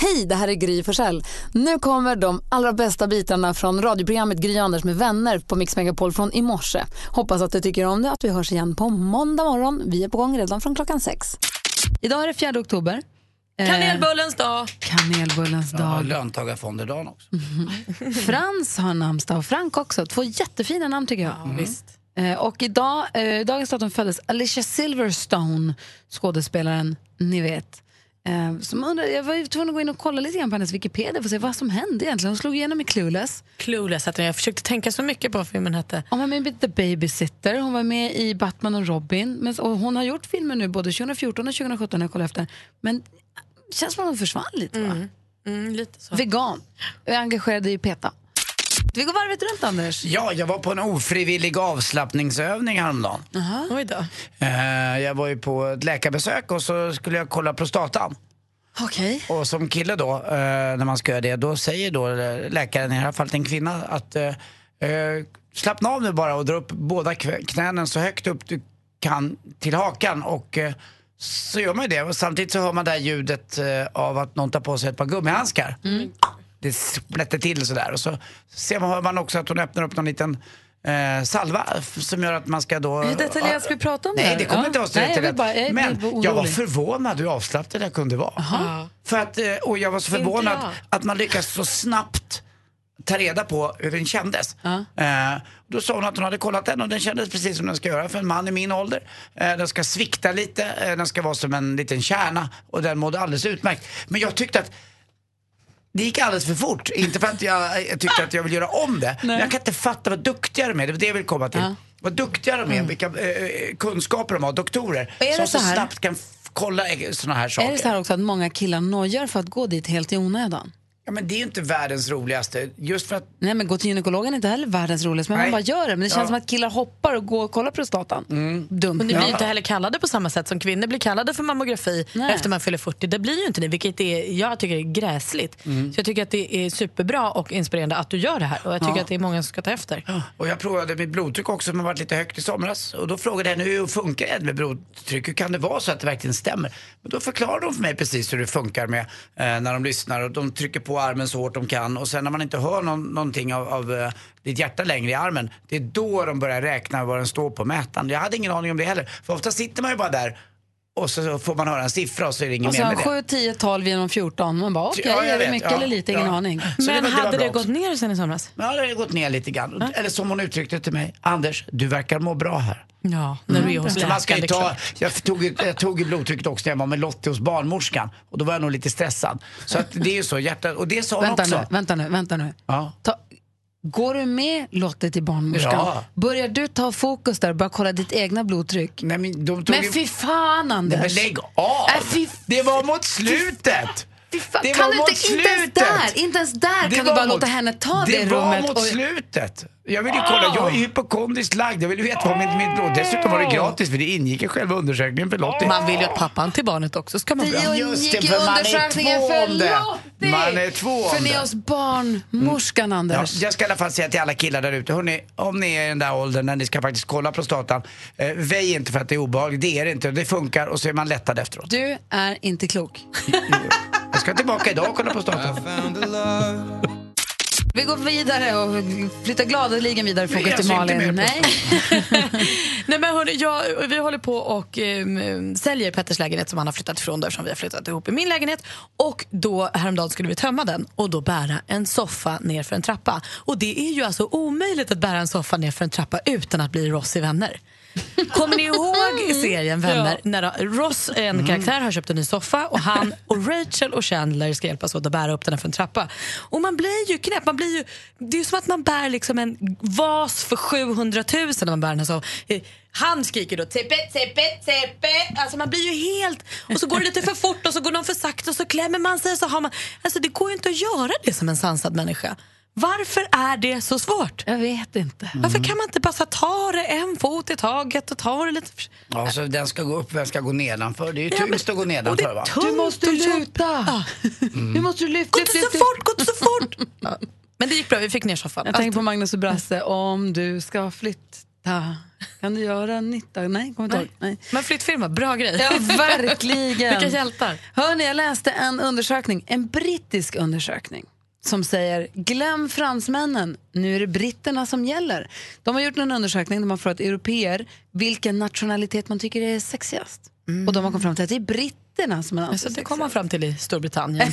Hej, det här är Gry Forssell. Nu kommer de allra bästa bitarna från radioprogrammet Gry Anders med vänner på Mix Megapol från i morse. Hoppas att du tycker om det att vi hörs igen på måndag morgon. Vi är på gång redan från klockan sex. Idag är det 4 oktober. Kanelbullens dag! Eh, Kanelbullens Ja, dag. löntagarfonderdagen också. Frans har namnsdag och Frank också. Två jättefina namn tycker jag. Visst. Eh, Och idag, eh, dagens datum föddes Alicia Silverstone, skådespelaren, ni vet. Eh, som undrar, jag var ju tvungen att gå in och kolla lite grann på hennes Wikipedia för att se vad som hände egentligen. Hon slog igenom i Clueless. Clueless hette den. Jag försökte tänka så mycket på vad filmen hette. Hon var med i The Babysitter, hon var med i Batman och Robin. Men, och hon har gjort filmer nu både 2014 och 2017 när jag kollade efter. Men det känns som att hon försvann lite va? Mm, lite så. Vegan. Jag är engagerad i PETA. Vi går varvet runt Anders. Ja, jag var på en ofrivillig avslappningsövning häromdagen. Oj då. Eh, Jag var ju på ett läkarbesök och så skulle jag kolla prostatan. Okej. Och som kille då, eh, när man ska göra det, då säger då eh, läkaren, i det här fallet en kvinna, att eh, eh, slappna av nu bara och dra upp båda kv- knänen så högt upp du kan till hakan. Och eh, så gör man ju det. Och samtidigt så hör man det här ljudet eh, av att någon tar på sig ett par gummihandskar. Mm. Det splätter till sådär. Och så ser man, hör man också att hon öppnar upp någon liten eh, salva f- som gör att man ska då... Hur detaljerat ska vi prata om det Nej, här? det kommer Ja. inte oss Nej, direkt jag till vill bara- jag rätt. blir Men jag var orolig. förvånad hur avslappnad jag kunde vara. Ja. För att, eh, och jag var så Inte förvånad jag. att man lyckas så snabbt ta reda på hur den kändes. Eh, då sa hon att hon hade kollat den och den kändes precis som den ska göra för en man i min ålder. Eh, den ska svikta lite, eh, den ska vara som en liten kärna och den mådde alldeles utmärkt. Men jag tyckte att det gick alldeles för fort. Inte för att jag eh, tyckte att jag vill göra om det. Men jag kan inte fatta vad duktiga de är. Det är det jag vill komma till. Vad duktiga de är, vilka eh, kunskaper de har, doktorer. Mm. är det som så, så här? snabbt kan f- kolla sådana här saker. Är det så här också att många killar nojar för att gå dit helt i onödan? Ja, men det är ju inte världens roligaste. Just för att Nej, men gå till gynekologen är inte heller världens roligaste, men Nej. man bara gör det. Men det känns Ja. Mm. som att killar hoppar och går och kollar prostatan. Dumt. Och ni Ja. blir ju inte heller kallade på samma sätt som kvinnor blir kallade för mammografi Nej. efter man fyller 40. Det blir ju inte ni, vilket är, jag tycker är gräsligt. Så jag tycker att det är superbra och inspirerande att du gör det här. Och jag tycker att det är många som ska ta efter. Och jag provade mitt blodtryck också som har varit lite högt i somras. Och då frågade jag henne hur funkar det med blodtryck? Hur kan det vara så att det verkligen stämmer? Men då förklarade de för mig precis hur det funkar med eh, när de lyssnar och de trycker på armen så hårt de kan. Och sen när man inte hör någon, någonting av, av eh, ditt hjärta längre i armen, det är då de börjar räkna vad den står på mätaren. Jag hade ingen aning om det heller. För ofta sitter man ju bara där och så får man höra en siffra och så är det ingen Och mer med sen 7, det. 10, 12 genom 14. Man bara okej, Ja, jag är det vet. mycket Ja, eller lite? Ingen ja. aning. Så Men var- var hade bra det också. gått ner sen i somras? Ja, det har gått ner lite grann. Eller som hon uttryckte det till mig, Anders, du verkar må bra här. Ja, när du är hos Så Mm. man ska läkaren. det ju är ta, klart. jag, tog, ju- jag tog ju blodtrycket också när jag var med Lottie hos barnmorskan och då var jag nog lite stressad. Så att det är ju så, hjärtat, och det sa hon Vänta också. nu, vänta nu, vänta nu. Ja. Ta, går du med Lotte till barnmorskan? Ja. Börjar du ta fokus där och börja kolla ditt egna blodtryck? Nej, men de tog Men ju- fy fan Anders! Nej, men lägg av! Äh, fy- Det var mot slutet! Fy fan, Det kan var du mot inte, inte ens slutet. där, inte ens där Det kan du var bara mot- låta henne ta det, det var rummet. mot och- Ah. slutet. Jag vill ju kolla, jag är hypokondriskt lagd. Jag vill ju veta vad mitt, mitt blod... Dessutom var det gratis för det ingick i själva undersökningen för Ah. Lottie. Man vill ju att pappan till barnet också ska må Det bra. är ju Just det, unik i för man är undersökningen två för om det. Lottie. Man är två om För ni det. är hos barnmorskan, Ja, Anders. jag ska i alla fall säga till alla killar där ute, hörrni, om ni är i den där åldern när ni ska faktiskt kolla prostatan, eh, väj inte för att det är obehagligt, det är det inte, det funkar och så är man lättad efteråt. Du är inte klok. Jag ska tillbaka idag och kolla prostatan. Vi går vidare och flyttar gladeligen vidare fokus Jag till ser inte mer Malin. på- Nej. Nej, men hörni, jag, vi håller på och ehm, säljer Petters lägenhet som han har flyttat ifrån då, eftersom vi har flyttat ihop i min lägenhet. Och då häromdagen skulle vi tömma den och då bära en soffa ner för en trappa. Och det är ju alltså omöjligt att bära en soffa ner för en trappa utan att bli Ross i Vänner. Kommer ni ihåg i Mm. serien Vänner när då Ross, en karaktär, har köpt en ny soffa och han och Rachel och Chandler ska hjälpas åt att bära upp den här för en trappa. Och man blir ju knäpp. Man blir ju, det är ju som att man bär liksom en vas för 700 000 när man bär den här soffan. Eh, Han skriker då tippe, tippe, tippe. Alltså man blir ju helt... Och så går det lite för fort och så går någon för sakta och så klämmer man sig. Så har man, alltså det går ju inte att göra det som en sansad människa. Varför är det så svårt? Jag vet inte. Varför kan man inte bara så här ta det en fot i taget och ta det lite... för- Ja, så den ska gå upp, vem ska gå nedanför? Det är ju Ja, men- tyngst att gå och det nedanför är va? tungt Du måste och luta. Mm. Du måste lyfta. Gå inte så fort, gå inte så fort! Ja. Men det gick bra, vi fick ner soffan. Jag tänker på Magnus och Brasse. Om du ska flytta, kan du göra nytta? Nej, kommer inte ihåg. Nej. Men flyttfirma, bra grej. Ja, verkligen. Vilka hjältar. Hörni, jag läste en undersökning, en brittisk undersökning som säger glöm fransmännen, nu är det britterna som gäller. De har gjort en undersökning där man frågat europeer vilken nationalitet man tycker är sexigast. Och de har kommit fram till att det är britterna som man anser Så Alltså, det sexigast. kom man fram till i Storbritannien.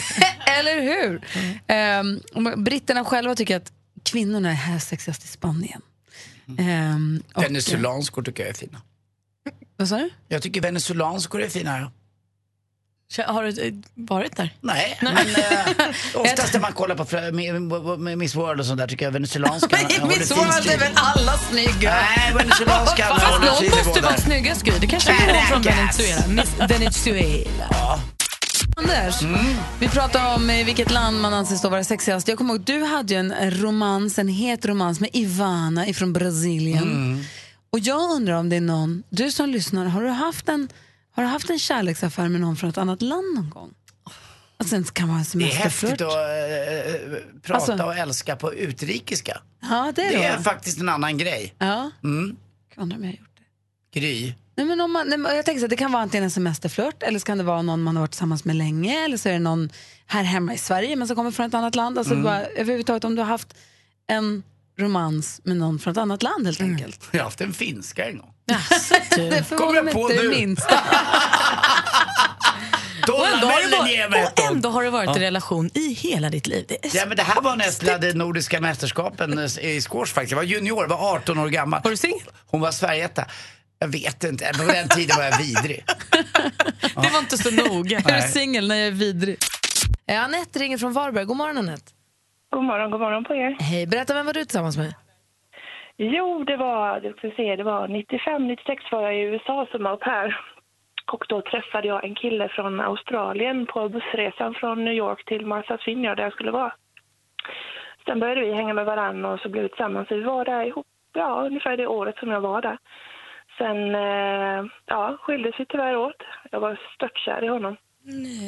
Eller hur? Ehm, och man- britterna själva tycker att kvinnorna är här sexigast i Spanien. Ehm, och, Venezuelanskor tycker jag är fina. vad sa du? Jag tycker venezuelanskor är fina. ja. Har du eh, varit där? Nej, men eh, oftast när man kollar på frö- med- med- med Miss World och sånt där tycker jag venezuelanska Miss World är väl alla snygga? Nej, venezuelanska Fast håller fin någon måste nivå vara där. snyggast Gry. Det kanske är någon från Caracas. Venezuela. Miss Venezuela. Anders, vi pratar om eh, vilket land man anses då vara sexigast. Jag kommer ihåg, du hade ju en romans, en het romans med Ivana ifrån Brasilien. Och jag undrar om det är någon, du som lyssnar, har du haft en, har du haft en kärleksaffär med någon från ett annat land någon gång? Och sen kan man ha en Det är häftigt semesterflört. att eh, prata Alltså- och älska på utrikiska. Ja, det är Det det. är va? faktiskt en annan grej. Ja, Mm. jag undrar om jag har gjort det. Gry. Nej, men om man, nej, men jag tänker så att det kan vara antingen en semesterflört eller så kan det vara någon man har varit tillsammans med länge eller så är det någon här hemma i Sverige men som kommer från ett annat land. Mm. Alltså bara, överhuvudtaget om du har haft en romans med någon från ett annat land Mm. helt enkelt. Jag har haft en finska en gång. Det Alltså, Kommer förvånar jag mig på inte det nu? minsta. Och ändå, har Dollarmällen du ger varit, mig och ett ändå ändå... har du varit i relation i hela ditt liv. Det är så- Ja, men det här var när jag spelade Nordiska mästerskapen eh, i squash faktiskt. Jag var junior, var 18 år gammal. Var du singel? Hon var Sverigeetta. Jag vet inte, på den tiden var jag vidrig. Det var inte så noga. Jag är singel när jag är vidrig. Eh, Anette ringer från Varberg. God morgon Anette. God morgon, god morgon på er. Hej, berätta vem var du tillsammans med? Jo, det var, jag ska se, det var 95, 96 var jag i USA som au pair. Och då träffade jag en kille från Australien på bussresan från New York till Martha's Vineyard där jag skulle vara. Sen började vi hänga med varandra och så blev vi tillsammans. Vi var där ihop, ja, ungefär det året som jag var där. Sen, eh, ja, skildes vi tyvärr åt. Jag var störtkär i honom.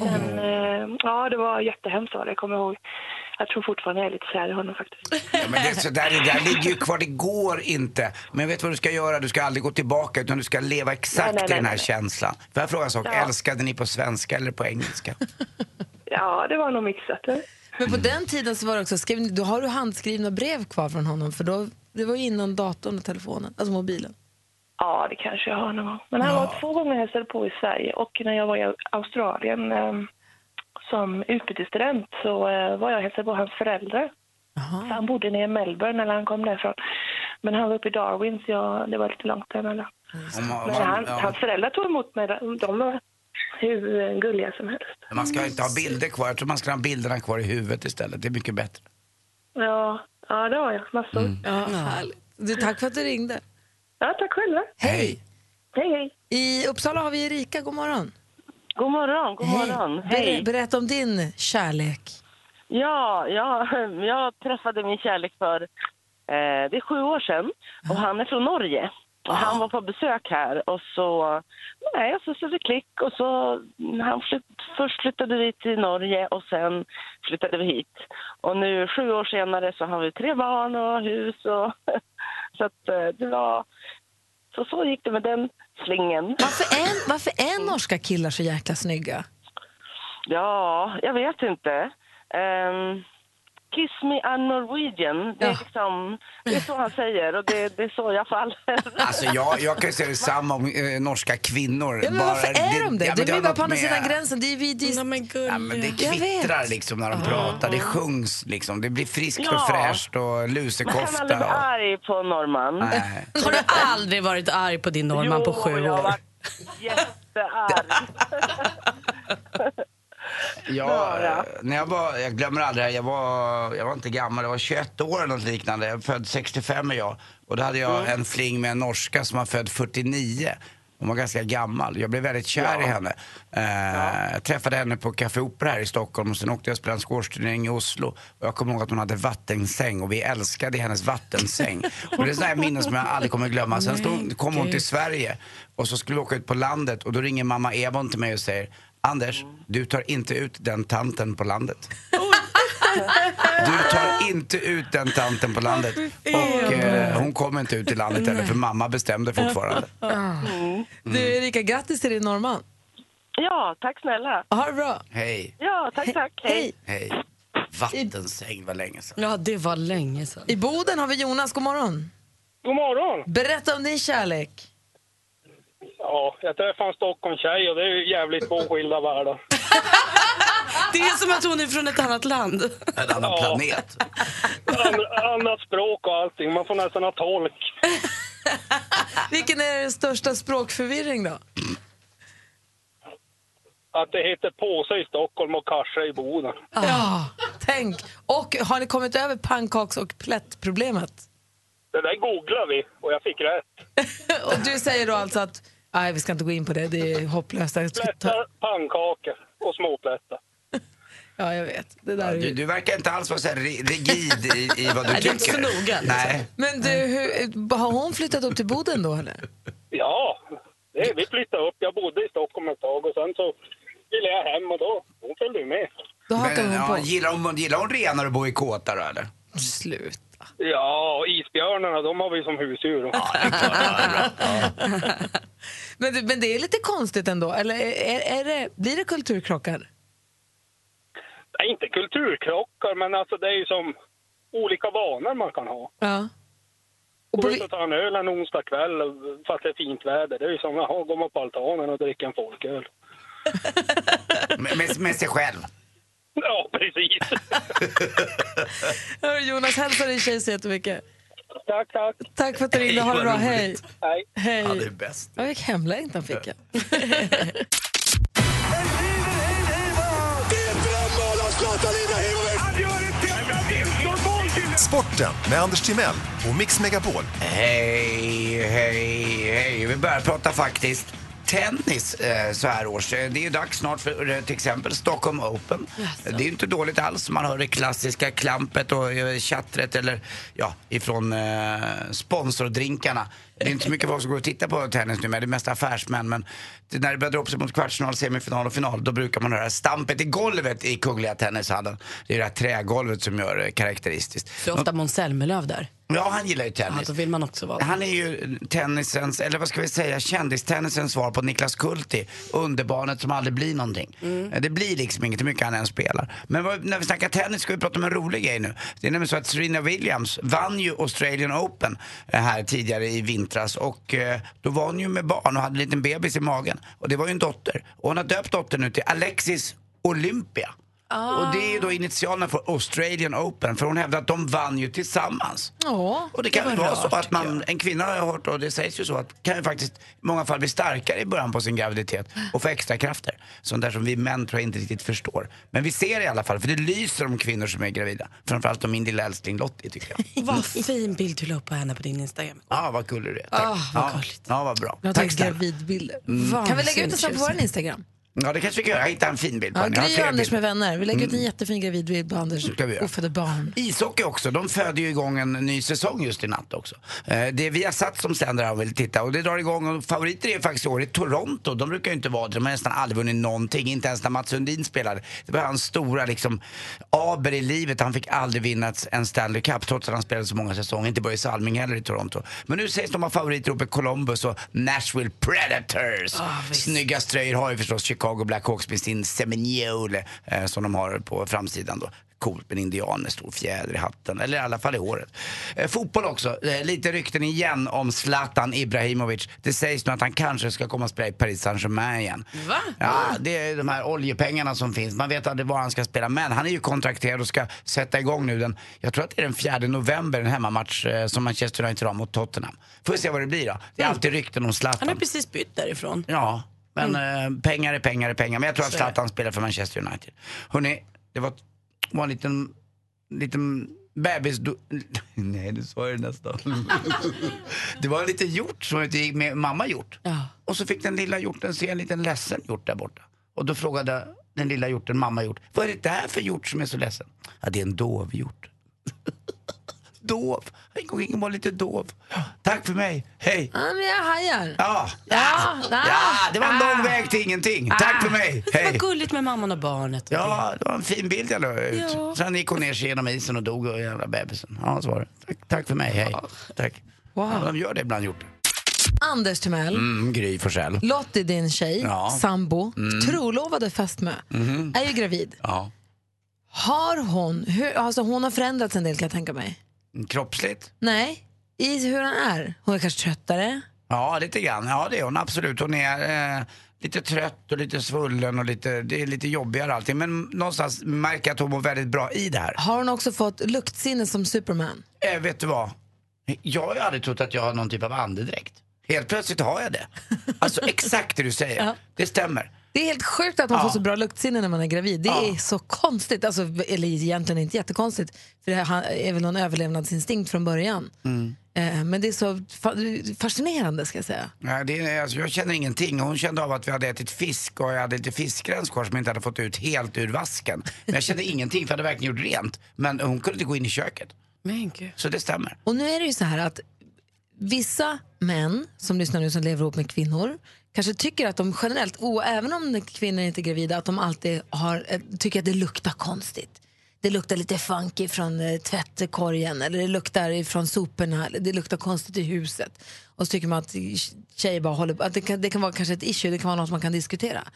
Sen, eh, ja, det var jättehemskt var det, jag kommer ihåg. Jag tror fortfarande jag är lite kär i honom faktiskt. Ja, men det, så där, det där ligger ju kvar, det går inte. Men jag vet vad du ska göra, du ska aldrig gå tillbaka utan du ska leva exakt Nej, nej, i den nej, här nej. känslan. Får jag fråga en sak, Ja. älskade ni på svenska eller på engelska? Ja, det var nog mixat. eller? Men på den tiden så var det också, skrev, ni- då har du handskrivna brev kvar från honom för då, det var ju innan datorn och telefonen, alltså mobilen. Ja, det kanske jag har någon gång. Men han var två gånger och hälsade på i Sverige och när jag var i Australien eh, som utbytesstudent så eh, var jag och hälsade på hans föräldrar. Så han bodde nere i Melbourne när han kom därifrån. Men han var uppe i Darwin så jag, det var lite långt emellan. Om man, Men man, han, ja, hans föräldrar tog emot mig. De var hur gulliga som helst. man ska inte ha bilder kvar, jag tror man ska ha bilderna kvar i huvudet istället. Det är mycket bättre. Ja, ja det har jag. Massor. Ja, härligt. Du, tack för att du ringde. Ja, tack själva. Hej! Hej, hej. I Uppsala har vi Erika, god morgon. God morgon, god morgon. Ber- Berätta om din kärlek. Ja, ja, jag träffade min kärlek för eh, det är sju år sedan och han är från Norge. Och han var på besök här och så, nej, och så så det klick och så, han flytt, först flyttade vi till Norge och sen flyttade vi hit. Och nu sju år senare så har vi tre barn och hus och så att eh, det var, så så gick det med den slingen. Varför är, varför är norska killar så jäkla snygga? Ja, jag vet inte. Ehm, kiss me I'm Norwegian. Det är, Ja. liksom, det är så han säger och det, det är så jag faller. Alltså jag, jag kan ju säga detsamma om eh, norska kvinnor. Ja, men varför är de det? ja, men de har är bara något på andra med- sidan gränsen. Det är vi, det Nej, är, men Ja, men det gulliga. Jag kvittrar vet. liksom när de pratar, det sjungs liksom. Det blir friskt och Ja. fräscht och Man kan lusekofta. aldrig bli och... arg på norrman. Nej. Har du aldrig varit arg på din norrman på sju jag har år? varit jättearg. Jag, Bara. eh, när jag, var, jag glömmer aldrig, det här, jag var, jag var inte gammal, jag var 21 år eller något liknande. Jag är född 65 är jag. Och då hade jag en fling med en norska som var född 49. Hon var ganska gammal. Jag blev väldigt kär i henne. Eh, Jag träffade henne på Café Opera här i Stockholm och sen åkte jag och spelade en squashturnering i Oslo. Och jag kommer ihåg att hon hade vattensäng och vi älskade hennes vattensäng. och det är sådana här minnen som jag aldrig kommer glömma. Sen stod, kom hon till Sverige och så skulle vi åka ut på landet och då ringer mamma Evon till mig och säger Anders, du tar inte ut den tanten på landet. Du tar inte ut den tanten på landet. Och eh, hon kommer inte ut i landet heller för mamma bestämde fortfarande. Du Erika, grattis till din norrman. Ja, tack snälla. Ha det bra. Hej, Ja, tack, tack. Hej. hej. Vattensäng var länge sedan. Ja, det var länge sedan. I Boden har vi Jonas, god morgon. God morgon! Berätta om din kärlek. Ja, jag träffade en Stockholmstjej och det är ju jävligt två skilda världar. Det är som att hon är från ett annat land. En annan planet. And- Annat språk och allting, man får nästan ha tolk. Vilken är den största språkförvirring då? Att det heter påse i Stockholm och karsa i Boden. Tänk. Och har ni kommit över pannkaks och plättproblemet? Det där googlade vi och jag fick rätt. Och du säger då alltså att nej, vi ska inte gå in på det, det är hopplöst. Jag ska ta- Plättar, pannkakor och småplättar. Ja, jag vet. Det där är Du, ju... du verkar inte alls vara så här ri- rigid i, i vad du Nej, det är inte tycker. så noga, liksom. Nej. Men du, hur, har hon flyttat upp till Boden då eller? Ja, det, vi flyttade upp. Jag bodde i Stockholm ett tag och sen så ville jag hem och då hon följde ju med. Då hakar Men, hon ja, på. gillar, hon, gillar hon renare och bor i kåta då eller? Slut. Ja, och isbjörnarna de har vi som husdjur. Men, det- men det är lite konstigt ändå, eller är, är det, blir det kulturkrockar? Det är inte kulturkrockar men alltså det är ju som olika vanor man kan ha. Ja. Och på, Gå ut vi- och ta en öl en onsdag kväll fast det är fint väder. Det är ju som, jaha, går man på altanen och dricker en folköl. Med, med, med sig själv. Ja, precis. Hörru, Jonas, hälsa din tjej så jättemycket. tack, tack. Tack för att du ringde, ha det vad bra, roligt. hej. Hej. Ja, det är Hej. bäst. Jag fick hemlängtan fick jag. Sporten med Anders Timell och Mix Megapol. Hej, hej, hej. Vi börjar prata faktiskt tennis eh, så här års. Eh, Det är ju dags snart för eh, till exempel Stockholm Open. Eh, Det är ju inte dåligt alls. Man hör det klassiska klampet och eh, tjattret eller ja, ifrån eh, sponsordrinkarna. Det är inte så mycket folk som går och tittar på tennis nu, men det är mest affärsmän. Men det- när det börjar dra upp sig mot kvartsfinal, semifinal och final, då brukar man höra stampet i golvet i Kungliga Tennishallen. Det är det här trägolvet som gör det karaktäristiskt. Det är ofta Måns Zelmerlöw där. Ja, han gillar ju Ja, tennis. då vill man också vara där. Han är ju tennisens, eller vad ska vi säga, kändistennisens svar på Niklas Kulti. Underbarnet som aldrig blir någonting. Mm. Det blir liksom inget hur mycket han än spelar. Men vad, när vi snackar tennis ska vi prata om en rolig grej nu. Det är nämligen så att Serena Williams vann ju Australian Open eh, här tidigare i vintras. Och eh, då var hon ju med barn och hade en liten bebis i magen. Och det var ju en dotter. Och hon har döpt dottern nu till Alexis Olympia. Och det är ju då initialerna för Australian Open, för hon hävdar att de vann ju tillsammans. Ja, Och det kan ju vara så att man, en kvinna har jag hört, och det sägs ju så, att kan ju faktiskt i många fall bli starkare i början på sin graviditet och få extra krafter. Sånt där som vi män tror jag inte riktigt förstår. Men vi ser det i alla fall, för det lyser om kvinnor som är gravida. Framförallt om min lilla älskling Lottie tycker jag. Vad fin bild du la upp på henne på din Instagram. Ja, ah, vad gullig du är. Tack. Ah, vad ja, gulligt. ja, vad bra. Jag Tack tar snälla. Mm. gravidbilder. Kan vi lägga ut det sen på vår Instagram? Ja, det kanske vi kan göra. Jag hittade en fin bild på Ja, henne. Jag har Gry och flera Anders bilder. med vänner. Vi lägger ut en jättefin gravidbild på Anders ska vi göra. ofödda barn. Ishockey också, de föder ju igång en ny säsong just i natt också. Eh, Det är Viasat som sänder här och vill titta och det drar igång och favoriter är faktiskt i år i Toronto. De brukar ju inte vara det, de har nästan aldrig vunnit någonting, inte ens när Mats Sundin spelade. Det var hans stora liksom aber i livet, han fick aldrig vinna en Stanley Cup trots att han spelade så många säsonger, inte Börje Salming heller i Toronto. Men nu sägs de ha favoriter uppe i Columbus och Nashville Predators. Snygga ströjor har ju förstås Chicago Blackhawks med sin Seminole eh, som de har på framsidan då coolt med en indian med stor fjäder i hatten, eller i alla fall i håret. Eh, fotboll också, eh, lite rykten igen om Zlatan Ibrahimovic. Det sägs nu att han kanske ska komma och spela i Paris Saint-Germain igen. Va? Ja, det är de här oljepengarna som finns. Man vet aldrig var han ska spela, men han är ju kontrakterad och ska sätta igång nu den, jag tror att det är den 4 november, en hemmamatch eh, som Manchester United har mot Tottenham. Får vi se vad det blir då. Det är alltid rykten om Mm. Han har Zlatan. precis bytt därifrån. Mm. Ja, men eh, pengar är pengar är pengar. Men jag tror att Så är det. Zlatan spelar för Manchester United. Hörrni, det var, var en liten, liten bebis... Do- Nej, du sa det nästan. det var en liten hjort som var ute och gick med mamma hjort. Och så fick den lilla hjorten se en liten ledsen hjort där borta. Och då frågade den lilla hjorten mamma hjort, vad är det där för hjort som är så ledsen? Ja, det är en dovhjort. dov. Han gick omkring och var lite dov. Tack för mig, hej. Ja, men jag hajar. Ja, Ja, ja, Ah. det var en lång väg till ingenting. Tack för mig, Det var hej. gulligt med mamman och barnet. Ja, det var en fin bild jag la ut. Ja. Sen gick hon ner sig genom isen och dog, och jävla bebisen. Ja, så var det. Tack, tack för mig, hej. Tack. Ja, de gör det ibland, gjort. Anders Timell, Mm, Gry Forssell. Lottie din tjej, Ja. sambo, Mm. trolovade fästmö, Mhm. är ju gravid. Ja. Har hon, hur, alltså hon har förändrats en del kan jag tänka mig. Kroppsligt? Nej, i hur hon är. Hon är kanske tröttare. Ja, lite grann. Ja, det är hon absolut. Hon är eh, lite trött och lite svullen och lite, det är lite jobbigare allting. Men någonstans märker jag att hon mår väldigt bra i det här. Har hon också fått luktsinne som Superman? Eh, vet du vad? Jag har ju aldrig trott att jag har någon typ av andedräkt. Helt plötsligt har jag det. Alltså exakt det du säger. Det stämmer. Det är helt sjukt att man Ja. får så bra luktsinne när man är gravid. Det är så konstigt, alltså, eller egentligen inte jättekonstigt, för det här är väl någon överlevnadsinstinkt från början. Eh, Men det är så fa- fascinerande ska jag säga. Nej, det är, alltså, jag känner ingenting. Hon kände av att vi hade ätit fisk och jag hade lite fiskrens kvar som jag inte hade fått ut helt ur vasken. Men jag kände ingenting för jag hade verkligen gjort rent. Men hon kunde inte gå in i köket. Men gud. Så det stämmer. Och nu är det ju så här att vissa män som lyssnar nu som lever ihop med kvinnor kanske tycker att de generellt, och även om kvinnor inte är gravida, att de alltid har, eh, tycker att det luktar konstigt. Det luktar lite funky från eh, tvättkorgen eller det luktar från soporna eller det luktar konstigt i huset. Och så tycker man att tjejer bara håller att det kan, det kan vara kanske ett issue, det kan vara något man kan diskutera.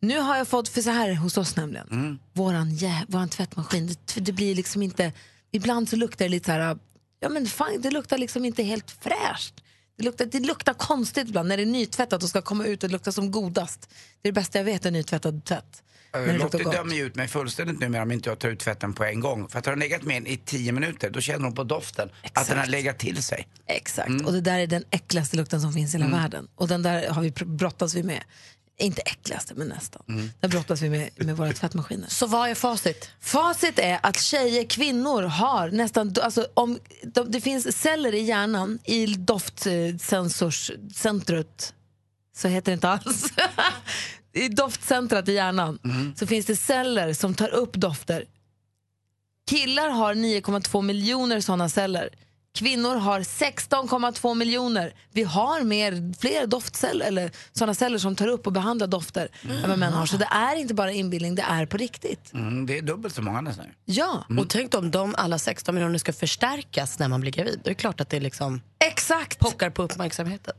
Nu har jag fått, för så här är det hos oss nämligen, våran, jä- våran tvättmaskin, det, det blir liksom inte, ibland så luktar det lite så här, ja men fan, det luktar liksom inte helt fräscht. Det luktar, det luktar konstigt ibland när det är nytvättat och ska komma ut och lukta som godast. Det är det bästa jag vet, en nytvättad tvätt. Men det Lottie luktar gott. dömer ju ut mig fullständigt numera om inte jag tar ut tvätten på en gång. För att har den legat med en i tio minuter, då känner hon på doften att den har legat till sig. Exakt, och det där är den äckligaste lukten som finns i hela Mm. världen. Och den där har vi pr- brottas vi med. Inte äckligaste, men nästan. Den brottas vi med, med våra tvättmaskiner. Så vad är facit? Facit är att tjejer, kvinnor har nästan... Alltså, om, de, det finns celler i hjärnan, i doftsensorscentret, så heter det inte alls. I doftcentrat i hjärnan så finns det celler som tar upp dofter. Killar har 9,2 miljoner såna celler. Kvinnor har 16,2 miljoner. Vi har mer, fler doftceller, eller såna celler som tar upp och behandlar dofter än vad män har. Så det är inte bara inbildning, det är på riktigt. Mm, det är dubbelt så många nästan. Ja. Mm. Och tänk om de alla 16 miljoner ska förstärkas när man blir gravid. Det är klart att det liksom Exakt. pockar på uppmärksamheten.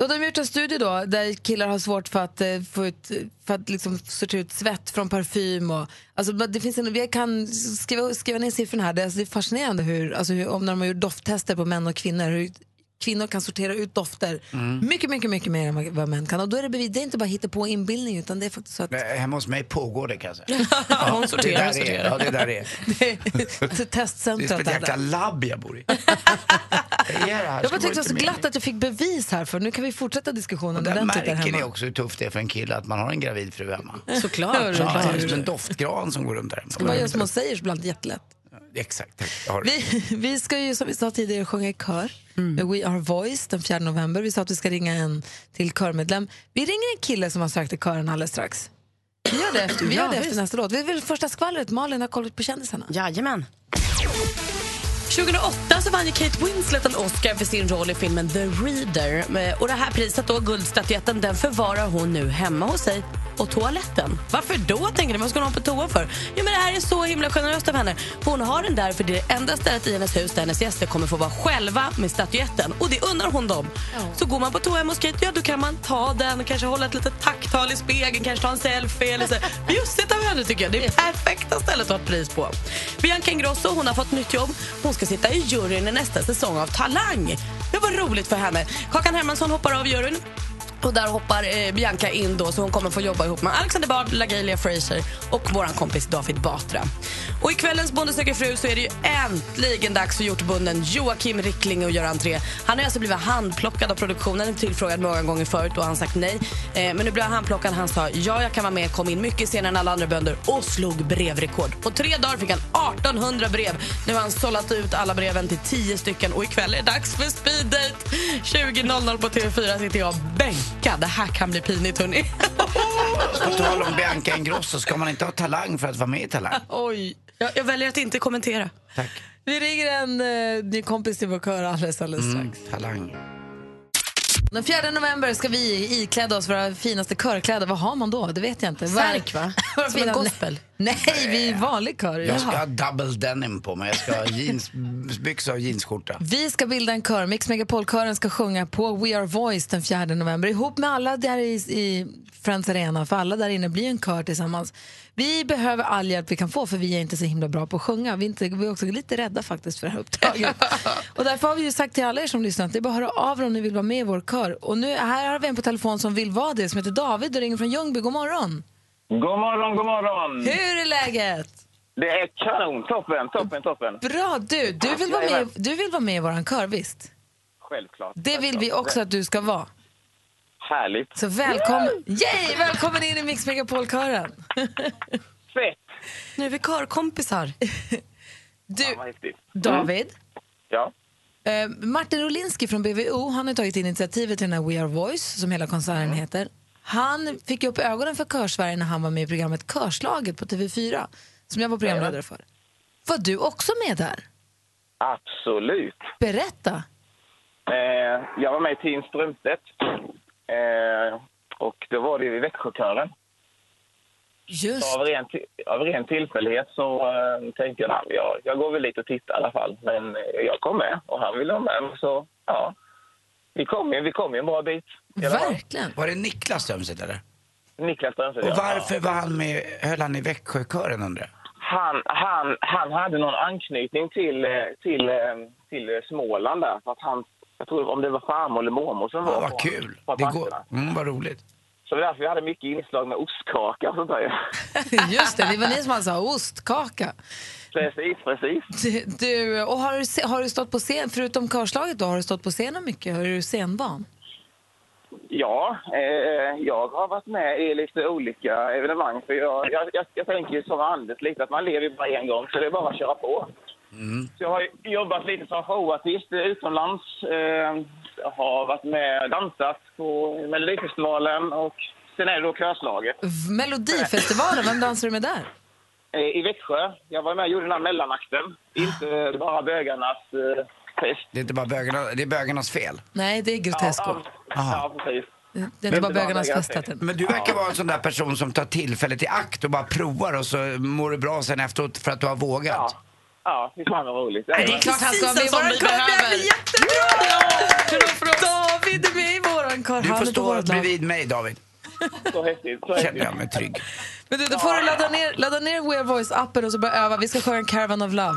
Och de har gjort en studie då, där killar har svårt för att, eh, få ut, för att liksom sortera ut svett från parfym. Och, alltså, men det finns en, jag kan skriva, skriva ner siffrorna här. Det är, alltså, det är fascinerande hur, alltså, hur, om när de har gjort dofttester på män och kvinnor. Hur, Kvinnor kan sortera ut dofter Mm. mycket, mycket, mycket mer än vad- vad män kan. Och då är det, bevis, det är inte bara hitta på inbildning utan det är faktiskt så att Nej, Eh, Hemma hos mig pågår det kan jag säga. Hon sorterar, det där sorterar. Är, ja, det där är. det är Det är testcentret som ett där. jäkla labb jag bor i. Det är det Jag här ska bara tyckte det var inte så med. glatt att jag fick bevis här för nu kan vi fortsätta diskussionen Där ordentligt där märker hemma. ni också hur tufft det är för en kille att man har en gravid fru hemma. Såklart. Ja, Såklart. Det är som en doftgran som går runt där hemma. Ska man göra som man säger så blir allt jättelätt. Exakt, tack. Jag har det. Vi, vi ska ju som vi sa tidigare sjunga i kör Mm. med We Are Voice den 4 november. Vi sa att vi ska ringa en till körmedlem. Vi ringer en kille som har sökt till kören alldeles strax. Vi gör det efter, vi gör Ja, det efter visst. nästa låt. Vi vill första skvallret. Malin har kollat på kändisarna. Jajamän. 2008 så vann ju Kate Winslet en Oscar för sin roll i filmen The Reader. Eh, Och det här priset, då, guldstatyetten, den förvarar hon nu hemma hos sig på toaletten. Varför då, tänker ni? Vad ska hon ha på toa för? Jo, men det här är så himla generöst av henne. Hon har den där för det är det enda stället i hennes hus där hennes gäster kommer få vara själva med statyetten. Och det unnar hon dem. Så går man på toa hemma hos Kate, ja då kan man ta den, kanske hålla ett litet tacktal i spegeln, kanske ta en selfie eller så. Bjussigt av henne tycker jag. Det är perfekta stället att ha ett pris på. Bianca Ingrosso, hon har fått nytt jobb. Hon ska sitta i juryn i nästa säsong av Talang. Det var roligt för henne. Kakan Hermansson hoppar av juryn. Och där hoppar eh, Bianca in då, så hon kommer få jobba ihop med Alexander Bard, LaGalia Fraser och vår kompis David Batra. Och i kvällens Bonde söker fru så är det ju äntligen dags för hjortbonden Joakim Rickling att göra entré. Han har alltså blivit handplockad av produktionen, tillfrågad många gånger förut och han har sagt nej. Eh, men nu blev han handplockad, han sa ja, jag kan vara med, kom in mycket senare än alla andra bönder och slog brevrekord. På tre dagar fick han 1800 brev. Nu har han sållat ut alla breven till 10 stycken och ikväll är det dags för speed date. 20.00 på TV4 sitter jag bänkad. Det här kan bli pinigt hörni. På tal om Bianca Ingrosso, ska man inte ha talang för att vara med i Talang? Oj. Jag, jag väljer att inte kommentera. Vi ringer en eh, ny kompis till vår kör alldeles, Mm. alldeles strax. Talang. Den 4 november ska vi ikläda oss våra finaste körkläder. Vad har man då? Det vet jag inte. Särk, va? Våra Som en fina- gospel. Nej, vi är vanlig kör. Jag ska ha double denim på mig. Jag ska ha jeansbyxor och jeansskjorta. Vi ska bilda en kör. Mix Megapol-kören ska sjunga på We Are Voice den 4 november ihop med alla där i, i Friends Arena, för alla där inne blir en kör tillsammans. Vi behöver all hjälp vi kan få, för vi är inte så himla bra på att sjunga. Vi är, inte, vi är också lite rädda faktiskt för det här uppdraget. och därför har vi ju sagt till alla er som lyssnar att det är bara att höra av er om ni vill vara med i vår kör. Och nu, här har vi en på telefon som vill vara det, som heter David och ringer från Ljungby. God morgon! God morgon, god morgon! Hur är läget? Det är kanon! Toppen, toppen, toppen! Bra! Du, du vill vara med, du vill vara med i vår kör, visst? Självklart. Det vill vi Självklart. också att du ska vara. Härligt! Så välkommen, yay, välkommen in i Mix Megapol-kören. Fett! Nu är vi körkompisar. Du, Vad häftigt. David. Ja. Eh, Martin Rolinski från BVO han har tagit initiativet till den här We Are Voice, som hela koncernen heter. Han fick ju upp ögonen för Körsverige när han var med i programmet Körslaget på TV4, som jag var programledare för. Var du också med där? Absolut! Berätta. Eh, jag var med i Team Strömstedt. Eh, och då var det ju i Växjökören. Just. Så av, ren, ti- av ren tillfällighet så eh, tänkte jag, "Nej, men jag jag går väl dit och tittar i alla fall. Men eh, jag kom med och han ville vara med. Så ja, vi kom ju, vi kom ju en bra bit. i alla fall. Verkligen. Var det Niklas Strömstedt eller? Niklas Strömstedt. Och ja. varför var han med, höll han i Växjökören undrar jag? han, han, han hade någon anknytning till, eh, till, eh, till eh, Småland där. För att han, jag tror om det var farmor eller mormor som var Ja, på- vad kul! på Det går, platserna. mm, vad roligt. Så det var därför vi hade mycket inslag med ostkaka och sånt där. Just det, det var ni som alltså sa ostkaka. precis, precis. Du, du, och har du, se- har du stått på scen, förutom Körslaget då, har du stått på scenen mycket? Har du scenvan? Ja, eh, jag har varit med i lite olika evenemang. För jag, jag, jag, jag tänker ju som Anders lite att man lever ju bara en gång så det är bara att köra på. Så jag har ju jobbat lite som showartist eh, utomlands. Eh, jag har varit med och dansat på Melodifestivalen och sen är det då Körslaget. V- Melodifestivalen, vem dansar du med där? Eh, I Växjö. Jag var med och gjorde den här mellanakten. Inte bara bögarnas eh, fest. Det är inte bara bögarna, det är bögarnas fel. Nej, det är Grotesco. Ja, ja, ja, precis. Det är inte bara bögarnas festat Men du verkar vara en sån där person som tar tillfället i akt och bara provar och så mår du bra sen efteråt för att du har vågat. Ja, fy fan vad roligt. Det är klart han ska vara med i Precis en våran sån vi behöver. kör. Det blir jättebra! David är med i våran kör. Du Han får är på stå vårt lag. bredvid mig David. Så häftigt. Så häftigt. Känner jag mig trygg. Men du, då får du ladda ner, ladda ner We Are Voice-appen och så börja öva. Vi ska sjunga Caravan of Love.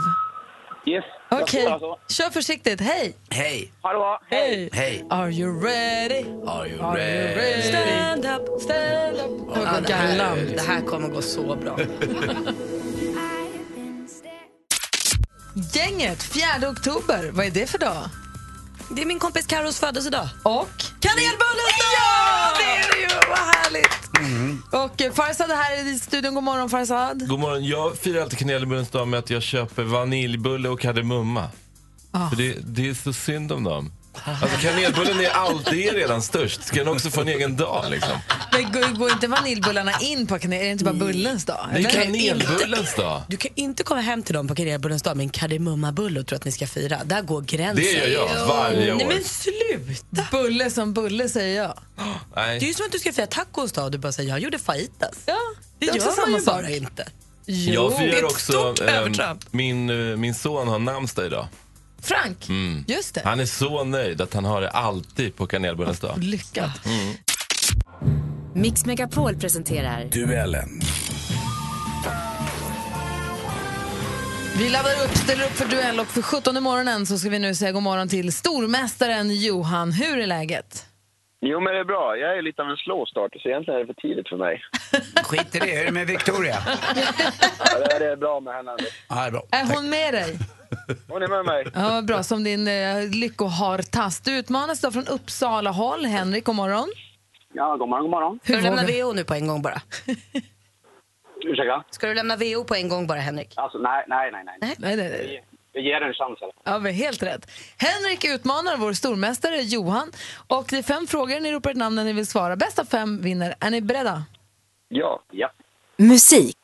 Yes. jag Okej, tror alltså. kör försiktigt. Hej! Hej, Ha det bra. Hej! hej. Are you ready? Are you Are you ready? Stand up. Stand up. Åh, vad det, här, galant. det här kommer gå så bra. Gänget, 4 oktober. Vad är det för dag? Det är min kompis Carros födelsedag. Och? Kanelbullens dag! Ja, det är det ju! Vad härligt! Och eh, Farzad är här i studion. God morgon, Farzad. Mm. God morgon. Jag firar alltid kanelbullens dag med att jag köper vaniljbulle och kardemumma. Ah. För det, det är så synd om dem. Alltså kanelbullen är alltid redan störst. Ska den också få en egen dag liksom? Men går, går inte vaniljbullarna in på kanel? Är det inte bara bullens dag? Det är eller? kanelbullens dag. Du kan inte komma hem till dem på kanelbullens dag med en kardemummabulle och tro att ni ska fira. Där går gränsen. Det gör jag varje Nej, år. men sluta! Bulle som bulle, säger jag. Det är ju Nej. som att du ska fira tacos dag och du bara säger jag gjorde fajitas. Ja, Det gör man ju bara inte. Jo. Jag Det firar är ett också... stort ehm, övertramp. min, eh, min son har namnsdag idag. Mm. Frank, just det. Han är så nöjd att han har det alltid på kanelbullens dag. Mm. Lyckat. Mix Megapol presenterar... Duellen. Vi laddar upp, ställer upp för duell och för 17 i morgonen så ska vi nu säga god morgon till stormästaren Johan. Hur är läget? Jo, men det är bra. Jag är lite av en slowstarter, så egentligen är det för tidigt för mig. Skit i det. Hur är det med Victoria? Ja, det är bra med henne. Ja, det är bra. Är hon med dig? Hon är med mig. Ja, vad bra, som din eh, lyckohartast. Du utmanas då från Uppsala håll. Henrik, god morgon. Ja, god morgon, god morgon. Ska du Hur lämna var det? VO nu på en gång bara? Ursäkta? Ska du lämna VO på en gång bara, Henrik? Alltså, nej, nej, nej. nej. Nej, nej, nej. Vi ger en chans. Eller? Ja, men helt rätt. Henrik utmanar vår stormästare Johan. Och det är fem frågor. Ni ropar ett namn när ni vill svara. Bäst av fem vinner. Är ni beredda? Ja. ja. Musik.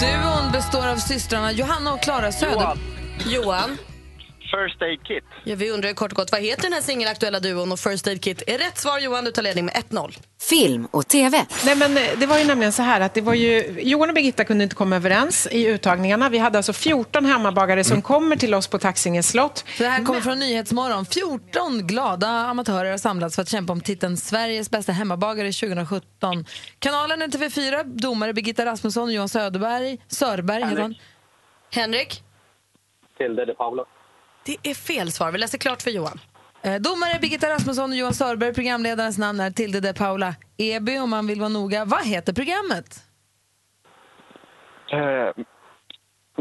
Duon består av systrarna Johanna och Klara Söder. Johan. Johan. First Aid Kit. Ja, vi undrar ju kort och gott, vad heter den här singelaktuella duon och First Aid Kit är rätt svar Johan, du tar ledning med 1-0. Film och TV. Nej, men eh, det var ju nämligen så här att det var ju, Johan och Birgitta kunde inte komma överens i uttagningarna. Vi hade alltså 14 hemmabagare Mm. som kommer till oss på Taxinge slott. Så det här kommer från Nyhetsmorgon. 14 glada amatörer har samlats för att kämpa om titeln Sveriges bästa hemmabagare 2017. Kanalen är TV4, domare Birgitta Rasmusson och Johan Söderberg. Sörberg heter han. Henrik, Tilde de Paula. det är fel svar. Vi läser klart för Johan. Eh, Domare Birgitta Rasmusson och Johan Sörberg. Programledarens namn är Tilde de Paula Eby om man vill vara noga. Vad heter programmet? Eh,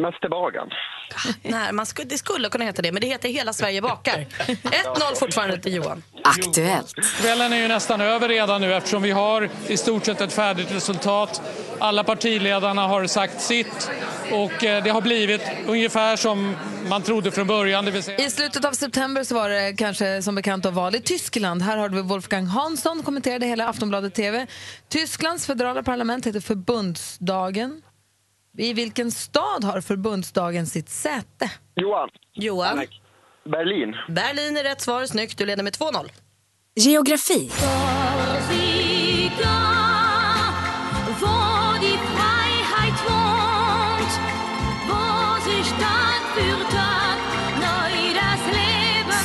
Mästerbagan. Nej, man skulle, det skulle kunna heta det, men det heter Hela Sverige bakar. 1-0 fortfarande till Johan. Aktuellt. Kvällen är ju nästan över redan nu eftersom vi har i stort sett ett färdigt resultat. Alla partiledarna har sagt sitt och eh, det har blivit ungefär som man trodde från början. Det vill säga... I slutet av september så var det kanske som bekant av val i Tyskland. Här har vi Wolfgang Hansson kommenterade hela Aftonbladet TV. Tysklands federala parlament heter Förbundsdagen. I vilken stad har förbundsdagen sitt säte? Johan. Johan. Berlin. Berlin är rätt svar. Snyggt, du leder med 2-0. Geografi.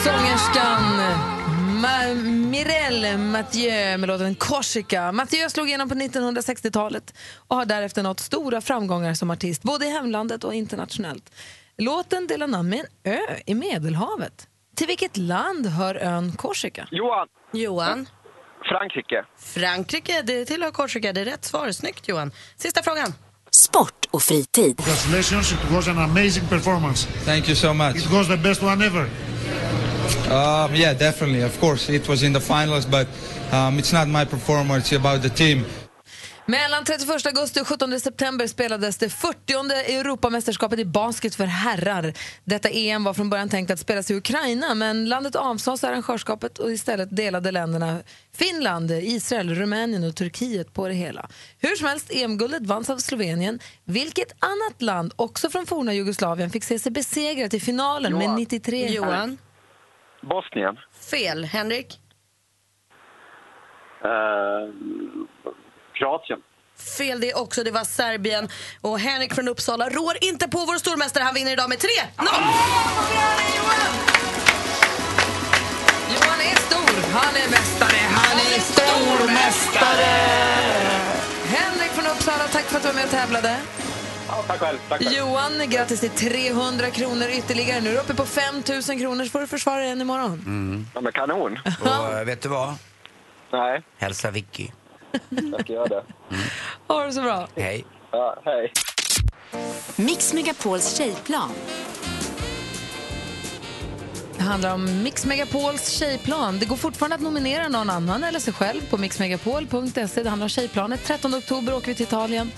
Sångerskan Ma- Mirelle Mathieu med låten Korsika. Mathieu slog igenom på 1960-talet och har därefter nått stora framgångar som artist både i hemlandet och internationellt. Låten delar namn med en ö i Medelhavet. Till vilket land hör Mm, ön Korsika? Johan. Johan. Frankrike. Frankrike, det tillhör Korsika. Det är rätt svar. Snyggt Johan. Sista frågan. Sport och fritid. Congratulations, it was an amazing performance. Thank you so much. It was the best one ever. Um, yeah, definitely. Of course, it was in the finals, but um, it's not my performance. It's about the team. Mellan 31 augusti och 17 september spelades det 40 Europamästerskapet i basket för herrar. Detta EM var från början tänkt att spelas i Ukraina men landet avsade sig arrangörskapet och istället delade länderna Finland, Israel, Rumänien och Turkiet på det hela. Hur som helst, EM-guldet vanns av Slovenien. Vilket annat land, också från forna Jugoslavien, fick se sig besegrat i finalen med Johan. 93 Johan. Bosnien. Fel. Henrik. Eh, Kroatien. Fel det också. Det var Serbien. Och Henrik från Uppsala rår inte på vår stormästare. Han vinner idag med 3-0. Johan är stor, han är mästare, han är stormästare! Henrik från Uppsala, tack för att du var med och tävlade. Ja, tack själv. Tack själv. Johan, grattis till 300 kronor ytterligare. Nu är du uppe på 5 000 kronor så får du försvara dig igen imorgon. Mm. Ja, men kanon. Och eh, vet du vad? Nej. Hälsa Vicky. Jag ska göra det. Ha det så bra. Hej. Ja, hej. Mix Megapols tjejplan. Det handlar om Mix Megapols tjejplan. Det går fortfarande att nominera någon annan eller sig själv på mixmegapol.se. Det handlar om tjejplanet. 13 oktober åker vi till Italien.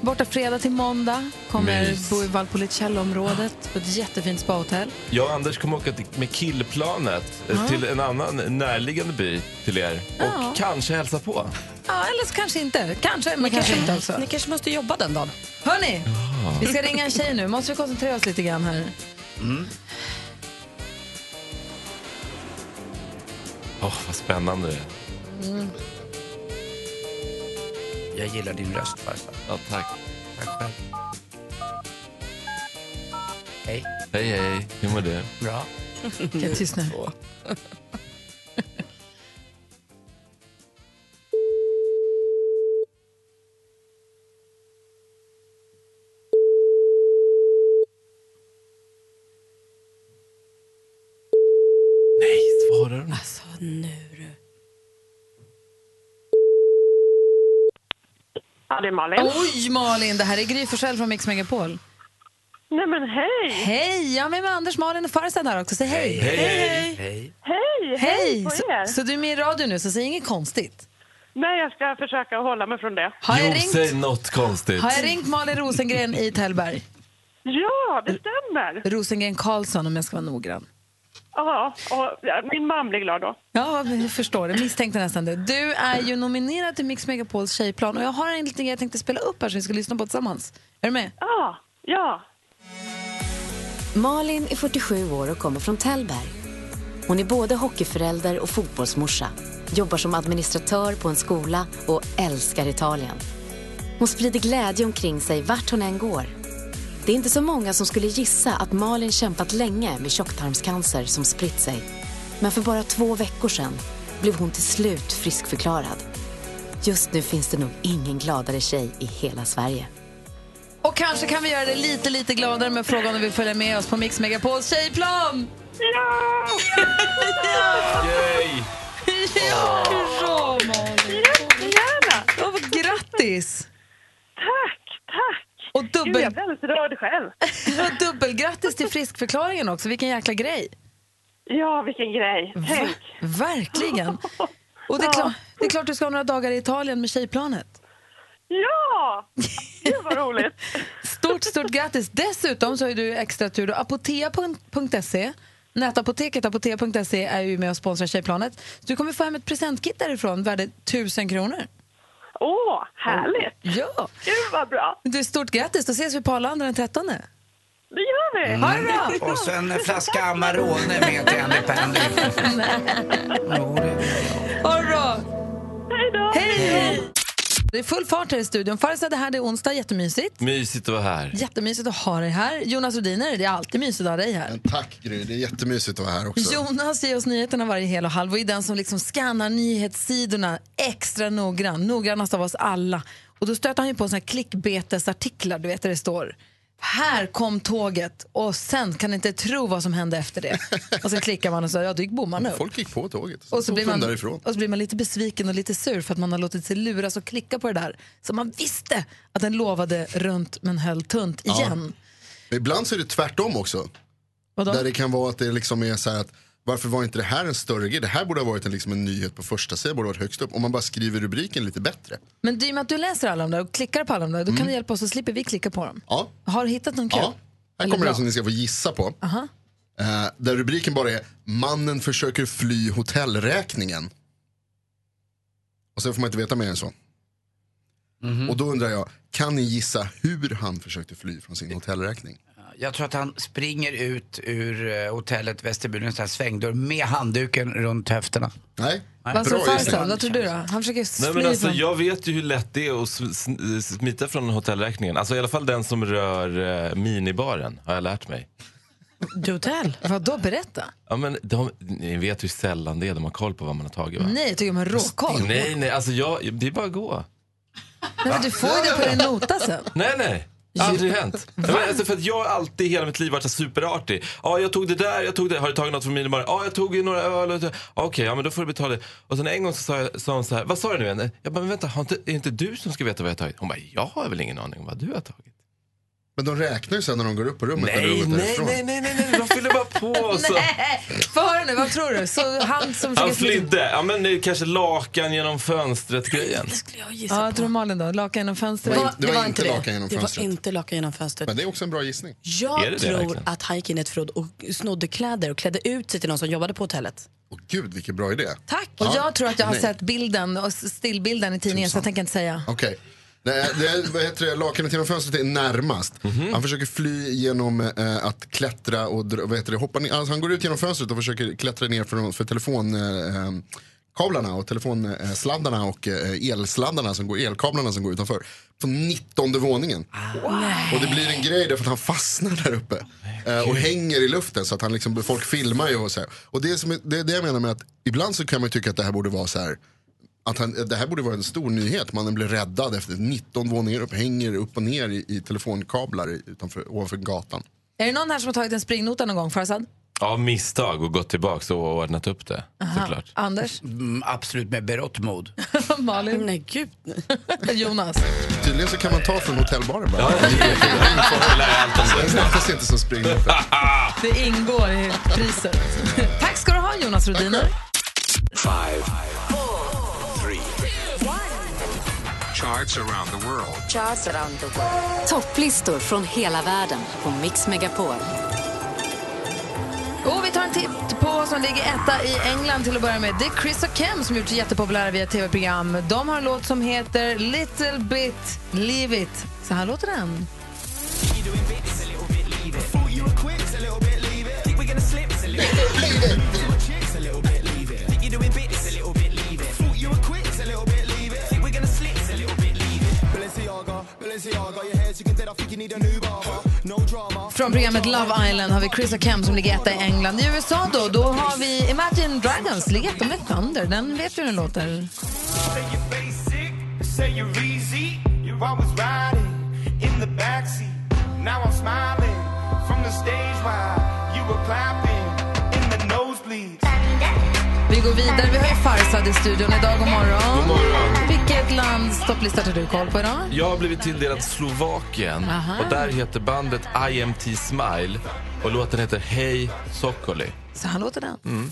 Borta fredag till måndag kommer Mys. bo i Valpolicella-området på ett jättefint spahotell. Jag och Anders kommer åka till- med killplanet eh, Ja. till en annan närliggande by till er och Ja. kanske hälsa på. Ja, eller så kanske inte. Kanske, men kanske inte också. Ni kanske måste jobba den dagen. Hörni, Ah. vi ska ringa en tjej nu. Måste vi koncentrera oss lite grann här? Mm. Åh, vad spännande det är. Mm. Jag gillar din röst farfar. Ja, tack. Tack själv. Hej. Hej, hej. Hur mår du? Bra. Okej, tyst nu. Ja, det är Malin. Oj, Malin! Det här är Gry Forssell från Mix Megapol. Nej, men hej! Hej! Jag är med, med Anders, Malin och Farzad här också. Säg hej! hej! Hej, Hej! på er. Så, så du är med i radio nu, så säg inget konstigt. Nej, jag ska försöka hålla mig från det. Har jag, Jo, ringt, säg något konstigt. har jag ringt Malin Rosengren i Tällberg? Ja, det stämmer. Rosengren Karlsson om jag ska vara noggrann. Ja, och ja, min man blir glad då. Ja, jag förstår det. Misstänkte nästan det. Du är ju nominerad till Mix Megapols tjejplan och jag har en liten grej jag tänkte spela upp här som vi ska lyssna på tillsammans. Är du med? Ja, ja. Malin är 47 år och kommer från Tällberg. Hon är både hockeyförälder och fotbollsmorsa, jobbar som administratör på en skola och älskar Italien. Hon sprider glädje omkring sig vart hon än går. Det är inte så många som skulle gissa att Malin kämpat länge med tjocktarmscancer som spritt sig. Men för bara två veckor sedan blev hon till slut friskförklarad. Just nu finns det nog ingen gladare tjej i hela Sverige. Och kanske kan vi göra det lite, lite gladare med frågan om vi följer med oss på Mix Megapols tjejplan! Ja! Yay! Ja! Hurra, Malin! Jättegärna! Ja, vad grattis! Tack, tack! Och Gud, jag dubbel... blir alldeles rörd själv. Ja, dubbelgrattis till friskförklaringen också. Vilken jäkla grej! Ja, vilken grej. Tänk. Verkligen! Och det är, klart, det är klart du ska ha några dagar i Italien med tjejplanet. Ja! Gud vad roligt. Stort, stort grattis! Dessutom så har ju du extra tur. då. Apotea.se, nätapoteket apotea.se är ju med och sponsrar Tjejplanet. Så du kommer få hem ett presentkit därifrån värde 1000 kronor. Åh, härligt. Ja! Gud vad bra. Du, stort grattis! Då ses vi på Arlanda den 13. Det gör vi. Ha det bra! Mm. Och så en flaska Amarone med till Andy Pandy. Ha det bra! Hej då! Hej! Det är full fart här i studion. Farzad är här, det är onsdag, jättemysigt. Mysigt att vara här. Jättemysigt att ha dig här. Jonas Rhodiner, det är alltid mysigt att ha dig här. Tack Gry, det är jättemysigt att vara här också. Jonas ger oss nyheterna varje hel och halv och är den som liksom skannar nyhetssidorna extra noggrann, noggrannast av oss alla. Och då stöter han ju på såna här klickbetesartiklar, du vet där det står här kom tåget och sen kan ni inte tro vad som hände efter det. Och så klickar man och så ja, då gick bommarna upp. Folk gick på tåget, Och så, blir man, därifrån. och så blir man lite besviken och lite sur för att man har låtit sig luras och klicka på det där. Så man visste att den lovade runt men höll tunt Ja. igen. Men ibland så är det tvärtom också. Vadå? Där det kan vara att det liksom är så här att varför var inte det här en större grej? Det här borde ha varit en, liksom en nyhet på första sidan, borde ha varit högst upp. Om man bara skriver rubriken lite bättre. Men du, i och med att du läser alla de där och klickar på alla de där, då kan Mm. du hjälpa oss så slipper vi klicka på dem. Ja, Har du hittat någon kul? ja. här Eller kommer alltså. bra? den som ni ska få gissa på. Aha. Eh, där rubriken bara är “Mannen försöker fly hotellräkningen”. Och sen får man inte veta mer än så. Och då undrar jag, kan ni gissa hur han försökte fly från sin hotellräkning? Jag tror att han springer ut ur eh, hotellet vestibulens där svängdörr med handduken runt höfterna. Nej. Vad tror Farzad? Vad tror du då? Han försöker fly Nej, men alltså, från- jag vet ju hur lätt det är att sm- sn- smita från hotellräkningen. Alltså, I alla fall den som rör eh, minibaren har jag lärt mig. Du hotell? Vadå, berätta. Ja, men de, ni vet hur sällan det är de har koll på vad man har tagit va? Nej, jag tycker man har råkoll. Nej, nej, alltså jag, det är bara att gå. Nej, men du får ju det på din nota sen. Nej, nej. Aldrig hänt. Nej, Men, alltså, för att jag har alltid i hela mitt liv varit så superartig. Ja, jag tog det där, jag tog det. Har du tagit något från minibaren? Ja, jag tog ju några öl. och- Ja, Okej, ja men då får du betala det. Och sen en gång så sa, jag, sa hon så här, vad sa du nu igen? Jag bara, men vänta, har inte, är det inte du som ska veta vad jag har tagit? Hon bara, jag har väl ingen aning om vad du har tagit. Men de räknar ju sen när de går upp på rummet. Nej, eller rummet nej, därifrån. nej, nej, nej, nej, de fyller bara på. Så. Nej, få höra nu, vad tror du? Så han som försöker Han flydde. Ja, men det är kanske lakan genom fönstret-grejen. Ja, jag tror Malin då. Lakan genom fönstret. Det var- det var inte lakan genom Det var fönstret. inte lakan genom fönstret. Men det är också en bra gissning. Jag Är det det tror verkligen? att han gick in i ett förråd och snodde kläder och klädde ut sig till någon som jobbade på hotellet. Gud, vilken bra idé. Tack! Och jag tror att jag har Nej. sett bilden och stillbilden i tidningen så jag tänker inte säga. Okej. Nej, det är- vad heter det? Lakanet genom fönstret är närmast. Han försöker fly genom eh, att klättra och dra- vad heter det? Hoppa ner. Alltså, han går ut genom fönstret och försöker klättra ner för, för telefonkablarna eh, kablarna och telefonsladdarna och eh, elsladdarna som går, elkablarna som går utanför. På 19 våningen. Ah. Och det blir en grej därför att han fastnar där uppe. eh, och hänger i luften så att han liksom, folk filmar ju och så här. Och det, är som, det är det jag menar med att ibland så kan man ju tycka att det här borde vara så här. Att han, det här borde vara en stor nyhet. Mannen blev räddad efter 19 våningar upp, hänger upp och ner i, i telefonkablar i- utanför, ovanför gatan. Är det någon här som har tagit en springnota någon gång, Farzad? Av misstag och gått tillbaka och ordnat upp det. Aha. Såklart. Anders? Mm, absolut med berått mod. Malin? Nej, gud. Jonas? Tydligen så kan man ta från hotellbaren bara. Det är knappast inte som springer upp. Det ingår i priset. Tack ska du ha, Jonas Rhodiner. Five, four, three. Charts around the world. Topplistor från hela världen på Mix Megapol. Och vi tar en titt på vad som ligger etta i England till att börja med. Det är Chris och Kem som gjort sig jättepopulära via tv-program. De har en låt som heter Little Bit Leave It. Så här låter den. Från programmet Love Island har vi Chris och Kem som ligger etta i England. I USA då, då har vi Imagine Dragons, ligger etta med Thunder. Den vet vi hur den låter. Say you're easy, you're always riding in the backseat. Now I'm smiling from the stage while you were clapping in the nosebleeds. Vi går vidare. Vi har ju Farsad i studion idag. God morgon. God morgon. Vilket lands topplista tar du koll på idag? Jag har blivit tilldelad Slovakien Aha. och där heter bandet IMT Smile och låten heter Hej Soccoli. Så här låter den. Mm.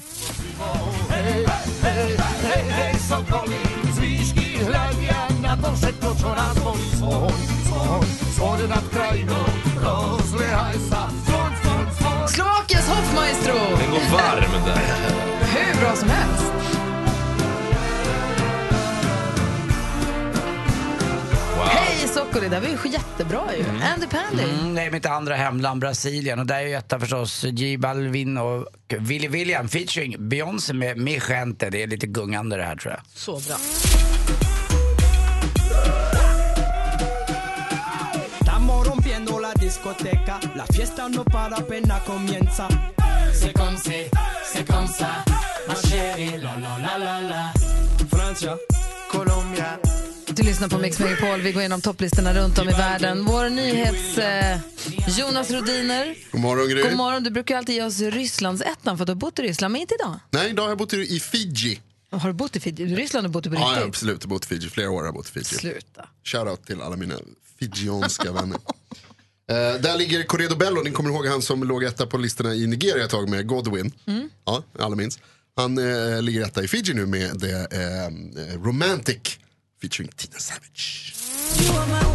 Slovakiens hoffmaestro! Den går varm där. Hur bra som helst. Hej Soccoli, det här var ju jättebra ju. Andy Pandy. Mm, det är mitt andra hemland Brasilien och där är ju etta förstås J Balvin och Willy William featuring Beyoncé med Mi Gente. Det är lite gungande det här tror jag. Så bra. Estamos rompiendo la discoteca, la fiesta no para pena comienza. C'est comme c'est, c'est comme ça, ma chérie, la la la la la. Francia, Colombia. Du lyssnar på Mix Megapol. Vi går igenom topplistorna runt om i världen. Vår nyhets... Eh, Jonas Rodiner. God morgon Gry. God morgon. Du brukar ju alltid ge oss Rysslands ettan för att du har bott i Ryssland, men inte idag. Nej, idag har jag bott i i Fiji. Har du bott i Fiji? Ryssland har du bott i på Ja, ja, riktigt? absolut. Jag har bott i Fiji. Flera år har jag bott i Fiji. Sluta. Shoutout till alla mina fijianska vänner. Eh, där ligger Corredo Bello, ni kommer ihåg han som låg etta på listorna i Nigeria ett tag med Godwin. Mm. Ja, alla minns. Han eh, ligger etta i Fiji nu med The eh, Romantic featuring Tina Savage. oh,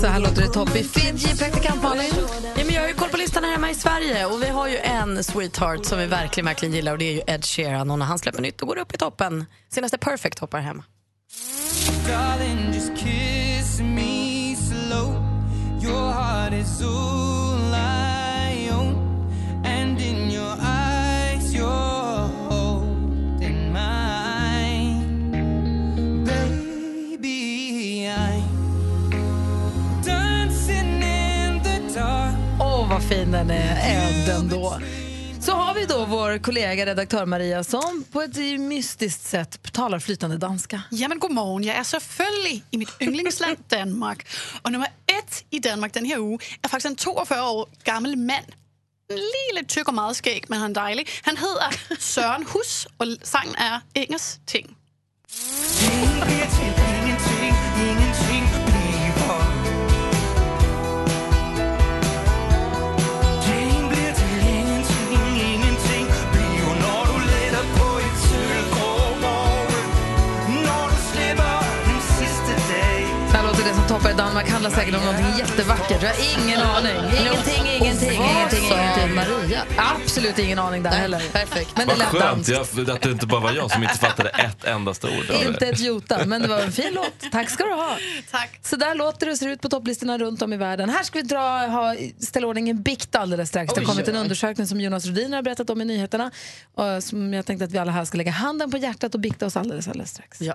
Så här låter det topp i Fiji. Praktikant Malin. Ja, men jag har ju koll på listan här hemma i Sverige och vi har ju en sweetheart som vi verkligen, verkligen gillar och det är ju Ed Sheeran och när han släpper nytt då går det upp i toppen. Senaste Perfect hoppar hem. Darling, just kiss me slow. Your heart is all I own, and in your eyes, you're holding mine. Baby, I'm dancing in the dark. Åh, vad fin den är. Elden då. Så har vi då vår kollega redaktör Maria som på ett mystiskt sätt talar flytande danska. Ja, men god morgen. Jeg er selvfølgelig i mit yndlingsland Danmark. Og nummer ett i Danmark den her uge er faktisk en 42 år gammel mand. Lige lidt tyk og meget skæg, men han er dejlig. Han hedder Søren Hus, og sangen er Ingers Ting. Så här låter det som toppar i Danmark. Handlar säkert om någonting jättevackert. Jag har ingen aning. Ingenting, ingenting, Och vad ingenting, sa ingenting. Maria? Absolut ingen aning där heller. Perfekt. Men det Vad lät skönt danskt. jag, att det inte bara var jag som inte fattade ett endaste ord. av det. Inte ett jota, men det var en fin låt. Tack ska du ha. Tack. Så där låter det och ser ut på topplistorna runt om i världen. Här ska vi dra, ha, ställa ordning en bikt alldeles strax. Det har Oj, kommit en oj. undersökning som Jonas Rhodin har berättat om i nyheterna. Och som jag tänkte att vi alla här ska lägga handen på hjärtat och bikta oss alldeles, alldeles strax. Ja.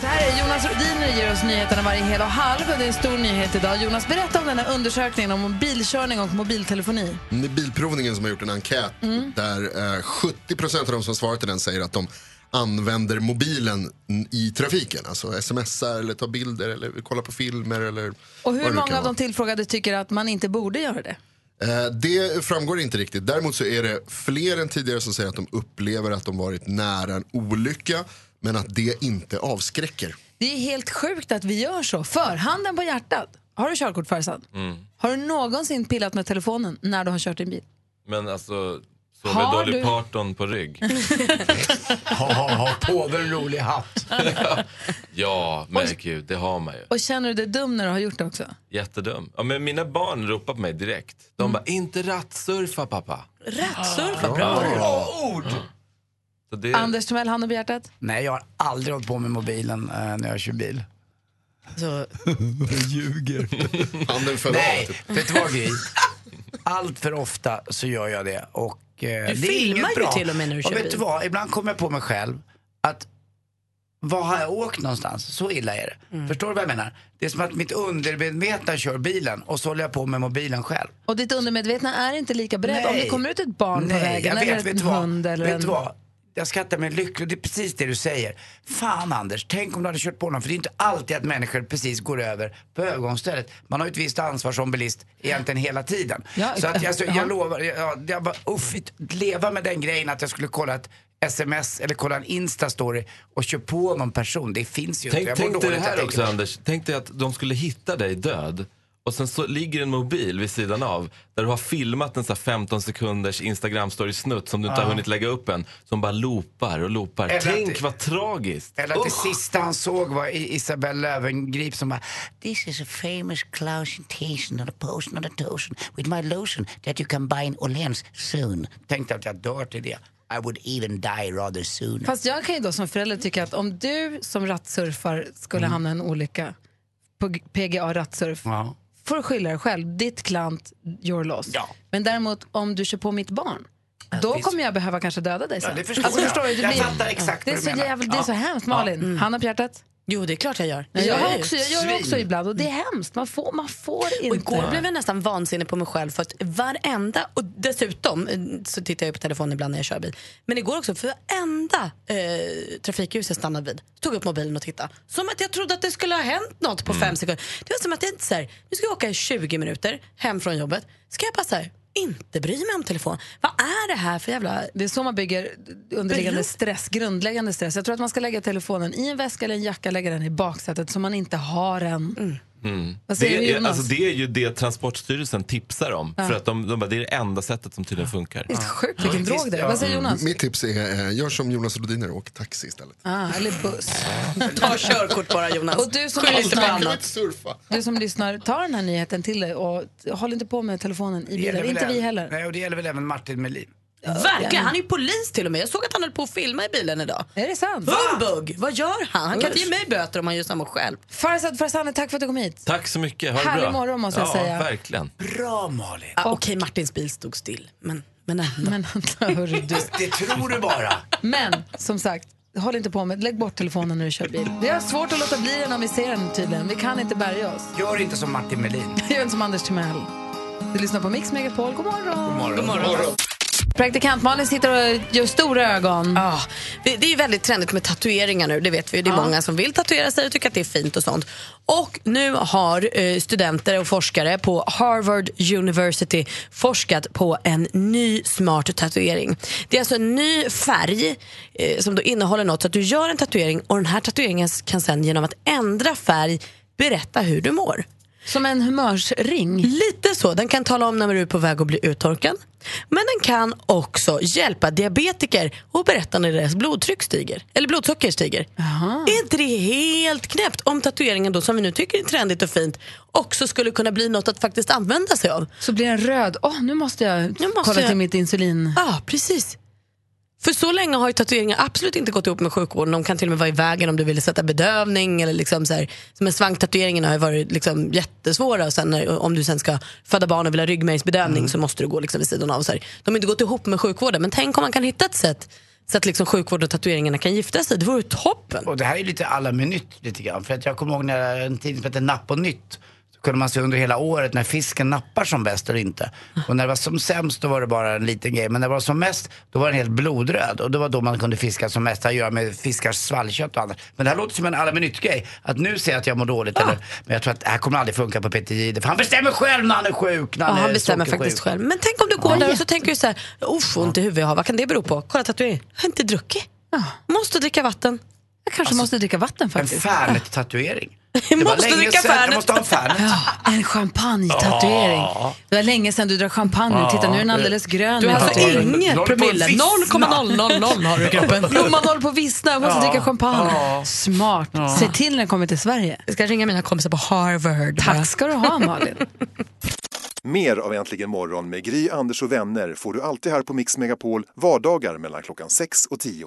Så här är Jonas Rhodiner ger oss nyheterna varje hel och halv. Det är en stor nyhet idag. Jonas, berätta om den här undersökningen om bilkörning och mobiltelefoni. Det är Bilprovningen som har gjort en enkät Mm. där eh, 70 av de som svarar till den säger att de använder mobilen n- i trafiken. Alltså smsar eller tar bilder eller kollar på filmer eller Och vad det hur nu kan många av vara. de tillfrågade tycker att man inte borde göra det? Eh, Det framgår inte riktigt. Däremot så är det fler än tidigare som säger att de upplever att de varit nära en olycka men att det inte avskräcker. Det är helt sjukt att vi gör så. För handen på hjärtat. Har du körkort, Farzad? Mm. Har du någonsin pillat med telefonen när du har kört din bil? Men alltså, såg Har jag Dolly du- Parton på rygg? Ha, ha, ha på dig en rolig hatt. Ja, men gud, det har man ju. Och känner du dig dum när du har gjort det också? Jättedum. Ja, men mina barn ropar på mig direkt. Mm. De bara, inte rattsurfa pappa. Rattsurfa, Ah. ord! Så det... Anders Timell, handen på hjärtat. Nej, jag har aldrig hållit på med mobilen eh, när jag kör bil. Så... jag ljuger. Handen föll Nej, av, typ. vet du vad Gry? Allt för ofta så gör jag det. Och, eh, det är filmar inget ju bra. till och med när du kör och vet bil. du vad? Ibland kommer jag på mig själv att var har jag åkt någonstans? Så illa är det. Mm. Förstår du vad jag menar? Det är som att mitt undermedvetna kör bilen och så håller jag på med mobilen själv. Och ditt undermedvetna är inte lika beredd. Nej. Om det kommer ut ett barn Nej, på vägen jag eller vet, en vet du vad? hund eller vet en... du vad? Jag skrattar mig lycklig, det är precis det du säger. Fan Anders, tänk om du hade kört på någon, för det är inte alltid att människor precis går över på övergångsstället. Man har ju ett visst ansvar som bilist egentligen hela tiden. Ja, så att, alltså, ja. jag lovar, jag, jag bara, uff, leva med den grejen att jag skulle kolla ett sms eller kolla en instastory och köra på någon person, det finns ju Tänk, inte. Jag mår tänk dig det dåligt, jag här tänker också på Anders. Tänk dig att de skulle hitta dig död. Och sen så ligger en mobil vid sidan av där du har filmat en sån här 15 sekunders Instagram story-snutt som du inte Ja. har hunnit lägga upp än. Som bara loopar och loopar. Eller att Tänk det- vad tragiskt. Eller att det Usch. sista han såg var I- Isabelle Löwengrip som bara This is a famous closentation on a post on a toast with my lotion that you can buy in Åhléns soon. Tänkte att jag dör till det. I would even die rather soon. Fast jag kan ju då som förälder tycka att om du som rattsurfar skulle hamna i en olycka på G- PGA rattsurf Ja. får du skylla dig själv. Ditt klant, your loss. Men däremot om du kör på mitt barn då kommer jag behöva kanske döda dig sen. det förstår alltså, jag. förstår du, det Jag blir- fattar exakt det är vad så du menar. jävla, Det är Ja. så hemskt. Malin, Mm. handen på hjärtat? Jo, det är klart jag gör. Nej, jag, Jag har är också, jag ett gör det också svin. Mm. ibland och det är hemskt. Man får, man får inte. Och igår blev jag nästan vansinnig på mig själv för att varenda, och dessutom eh, så tittar jag på telefonen ibland när jag kör bil, men igår också för varenda eh, trafikljus jag stannade vid tog upp mobilen och tittade. Som att jag trodde att det skulle ha hänt något på Mm. fem sekunder. Det var som att jag inte så här, nu ska jag åka i 20 minuter hem från jobbet, ska jag bara så här, inte bry mig om telefon. Vad är det här för jävla... Det är så man bygger underliggande stress, grundläggande stress. Jag tror att man ska lägga telefonen i en väska eller en jacka, lägga den i baksätet så man inte har den. Mm. Vad säger Det, du, är, Jonas? alltså, det är ju det Transportstyrelsen tipsar om. Ja. För att de, de bara, det är det enda sättet som tydligen funkar. Sjukt vilken drog det är. Vad säger Jonas? Mm. Mitt tips är, eh, gör som Jonas Rhodiner och åk taxi istället. Ah, eller buss. Ta körkort bara Jonas. Och du som, Skyll inte på lyssnar, annat. du som lyssnar, ta den här nyheten till dig och håll inte på med telefonen i Det gäller bilen. väl Inte vi även- heller. Nej, och det gäller väl även Martin Melin. Verkligen, han är ju polis till och med. Jag såg att han höll på att filma i bilen idag. Är det sant? Humbug! Vad gör han? Han kan inte Usch. ge mig böter om han gör samma själv. Farzad Farzani, tack för att du kom hit. Tack så mycket. Ha det Härlig bra. morgon, måste jag ja, säga. verkligen. Bra Malin. Ah, Okej, Martins bil stod still. Men, men ändå. Men hörru du. Det tror du bara. Men som sagt, håll inte på med Lägg bort telefonen när du kör bil. Vi har svårt att låta bli den om vi ser den tydligen. Vi kan inte bärga oss. Gör inte som Martin Melin. Gör inte som Anders Timell. Du lyssnar på Mix Megapol. God morgon! God morgon. God morgon. Praktikant Malin sitter och gör stora ögon. Ja, det, det är ju väldigt trendigt med tatueringar nu, det vet vi ju. Det är många som vill tatuera sig och tycker att det är fint och sånt. Och nu har eh, studenter och forskare på Harvard University forskat på en ny smart tatuering. Det är alltså en ny färg eh, som då innehåller något så att du gör en tatuering och den här tatueringen kan sen genom att ändra färg berätta hur du mår. Som en humörsring? Lite så. Den kan tala om när du är på väg att bli uttorkad. Men den kan också hjälpa diabetiker och berätta när deras blodtryck stiger. Eller blodsocker stiger. Är inte det helt knäppt om tatueringen då som vi nu tycker är trendigt och fint också skulle kunna bli något att faktiskt använda sig av? Så blir den röd. Åh, nu måste jag kolla till mitt insulin. Ja, precis. För så länge har ju tatueringar absolut inte gått ihop med sjukvården. De kan till och med vara i vägen om du vill sätta bedövning. Eller liksom så här. Men svanktatueringarna har ju varit liksom jättesvåra. Och sen när, om du sen ska föda barn och vill ha Mm. ryggmärgsbedövning så måste du gå liksom vid sidan av. Så här. De har inte gått ihop med sjukvården. Men tänk om man kan hitta ett sätt så att liksom sjukvården och tatueringarna kan gifta sig. Det vore ju toppen. Och det här är lite alla med nytt lite grann. För att jag kommer ihåg när en tidning som hette Napp och Nytt så kunde man se under hela året när fisken nappar som bäst eller inte. Och när det var som sämst då var det bara en liten grej. Men när det var som mest då var den helt blodröd. Och det var då man kunde fiska som mest. Det har att göra med fiskars svallkött och annat. Men det här låter som en alla med nytt-grej. Att nu ser jag att jag mår dåligt. Eller, Ah. men jag tror att det här kommer aldrig funka på Peter Jihde. För han bestämmer själv när han är sjuk. När Ja, han, han är bestämmer sockersjuk. faktiskt själv. Men tänk om du går där och så tänker du så här, usch ont i huvudet jag har, vad kan det bero på? Kolla tatueringen, jag har inte druckit. Måste dricka vatten. Alltså- Jag kanske måste dricka vatten En faktiskt. Fernet-tatuering. Jag Det var måste länge dricka sedan. Jag Fernet. måste ha en Fernet. Ja, en champagne-tatuering. Ja. Det var länge sedan du drack champagne. Ja. Titta, nu är den alldeles grön. Du har alltså tatueringen. inget Noll på promille. vissna. 0,000 har du i kroppen. Blomman håller på att vissna. Jag måste Ja. dricka champagne. Ja. Smart. Ja. Se till när den kommer till Sverige. Jag ska ringa mina kompisar på Harvard. Tack ska du ha, Malin. Mer av Äntligen morgon med Gry, Anders och vänner får du alltid här på Mix Megapol vardagar mellan klockan 6 och 10.